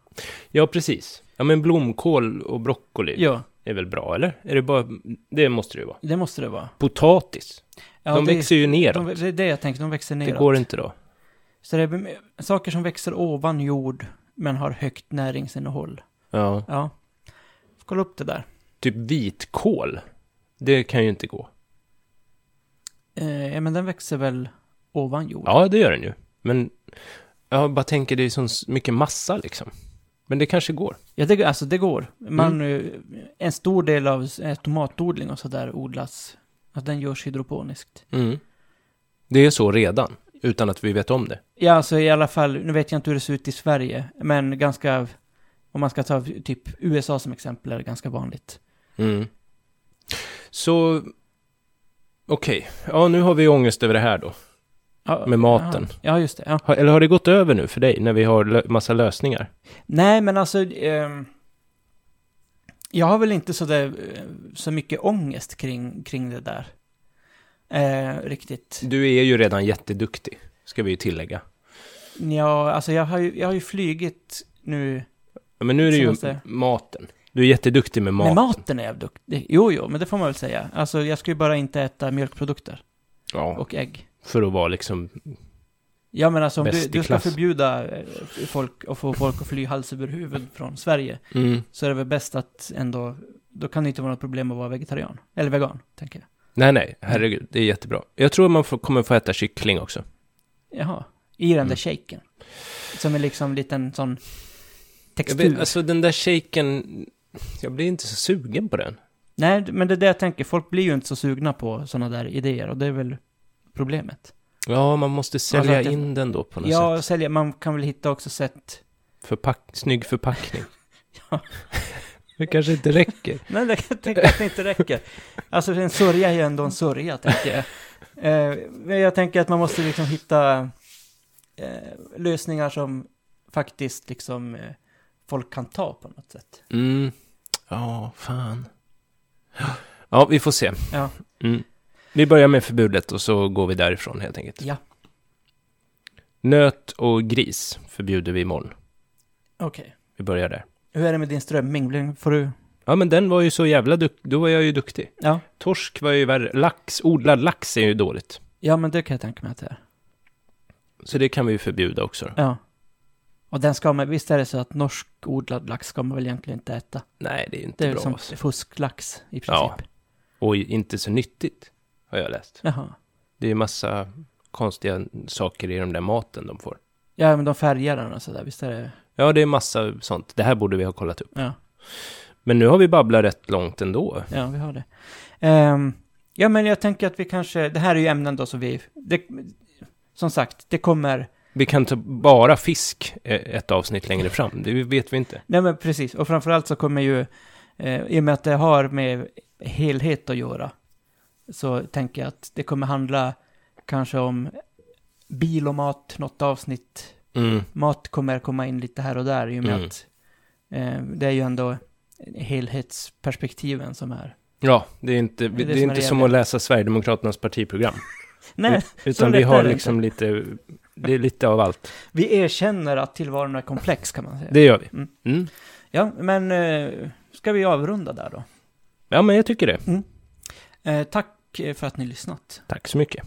Ja, precis. Ja, men blomkål och broccoli
Ja,
är väl bra, eller? Är det bara... Det måste det ju vara.
det måste det vara.
Potatis.
Ja,
de
det,
växer ju neråt.
de, Det är det jag tänker, de växer neråt.
det går inte då.
Så det är m- saker som växer ovan jord men har högt näringsinnehåll.
Ja.
Ja. Får Kolla upp det där.
Typ vitkål. Det kan ju inte gå.
Eh, ja, men den växer väl ovan jord?
Ja, det gör den ju. Men jag bara tänker, det är så mycket massa liksom. Men det kanske går.
Ja, det, alltså det går.
Mm.
Man, eh, En stor del av s- eh, tomatodling och sådär odlas, att den görs hydroponiskt.
Mm. Det är så redan, utan att vi vet om det.
Ja, alltså i alla fall, nu vet jag inte hur det ser ut i Sverige, men ganska, om man ska ta typ USA som exempel, är det ganska vanligt.
Mm. Så, okej. Ja, nu har vi ångest över det här då.
Ja,
Med maten.
Ja, ja just det. Ja.
Har, eller har det gått över nu för dig, när vi har lö massa lösningar?
Nej, men alltså... ehm, jag har väl inte så, där, eh, så mycket ångest kring, kring det där. Eh, riktigt.
Du är ju redan jätteduktig, ska vi ju tillägga.
Ja, alltså jag har ju, jag har ju flygit nu.
Ja, Men nu är det ju
Senaste.
maten. Du är jätteduktig med mat.
Med maten är jag duktig. Jo, jo, men det får man väl säga. Alltså jag ska ju bara inte äta mjölkprodukter
Ja,
och ägg.
för att vara liksom...
Ja, men alltså om
Bäst
du,
i
du ska
klass.
förbjuda eh, folk och få folk att fly hals över huvud från Sverige
Mm.
så är det väl bäst att ändå, då kan det inte vara något problem att vara vegetarian. Eller vegan, tänker jag.
Nej, nej, herregud, det är jättebra. Jag tror man får, kommer få äta kyckling också.
Jaha, i den där
Mm.
shaken. Som är liksom en liten sån
Jag
textur.
vet, alltså den där shaken, jag blir inte så sugen på den.
Nej, men det är det jag tänker. Folk blir ju inte så sugna på sådana där idéer och det är väl problemet.
Ja, man måste sälja
Alltså att det-
in den då på något
Ja,
sätt.
sälja, man kan väl hitta också sätt...
Förpack, snygg förpackning.
Ja.
Det kanske inte räcker.
Nej, det kan jag tänka att det inte räcker. Alltså en sörja är ju ändå en sörja, tänker jag. Eh, men jag tänker att man måste liksom hitta eh, lösningar som faktiskt liksom eh, folk kan ta på något sätt.
Mm. Ja, fan. Ja, vi får se.
Ja.
Mm. Vi börjar med förbudet och så går vi därifrån helt enkelt.
Ja.
Nöt och gris förbjuder vi imorgon.
Okej.
Vi börjar där.
Hur är det med din strömming? Blir- Får du...
Ja, men den var ju så jävla duktig. Då var jag ju duktig.
Ja.
Torsk var ju värre. Lax, odlad lax är ju dåligt.
Ja, men det kan jag tänka mig att det är.
Så det kan vi ju förbjuda också. då.
Ja. Och den ska man, visst är det så att norsk odlad lax ska man väl egentligen inte äta?
Nej, det är ju inte
Det är väl
bra.
som
alltså.
fusklax i princip.
Ja. Och inte så nyttigt, har jag läst.
Jaha.
Det är ju massa konstiga saker i den där maten de får.
Ja, men de färgar den och sådär, visst är det?
Ja, det är massa sånt. Det här borde vi ha kollat upp.
Ja,
Men nu har vi babblat rätt långt ändå.
ja vi har det. Ehm, ja, men jag tänker att vi kanske, det här är ju ämnen då som vi, det, som sagt, det kommer
Vi kan ta bara fisk eh, ett avsnitt längre fram, det vet vi inte.
Nej men precis, och framförallt så kommer ju, eh, i och med att det har med helhet att göra, så tänker jag att det kommer handla kanske om bil och mat, något avsnitt.
Mm.
Mat kommer komma in lite här och där i och med
Mm.
att eh, det är ju ändå helhetsperspektiven som är.
Ja, det är inte,
Det
det
är
är
det som är
inte
det
som
jävliga.
att läsa Sverigedemokraternas partiprogram.
Nej,
Utan
lätt
vi
är
har
det
liksom lite, det är lite av allt.
vi erkänner att tillvaron är komplex kan man säga.
Det gör vi.
Mm.
Mm.
Ja, men eh, ska vi avrunda där då?
Ja, men jag tycker det.
Eh, tack eh, för att ni lyssnat.
Tack så mycket.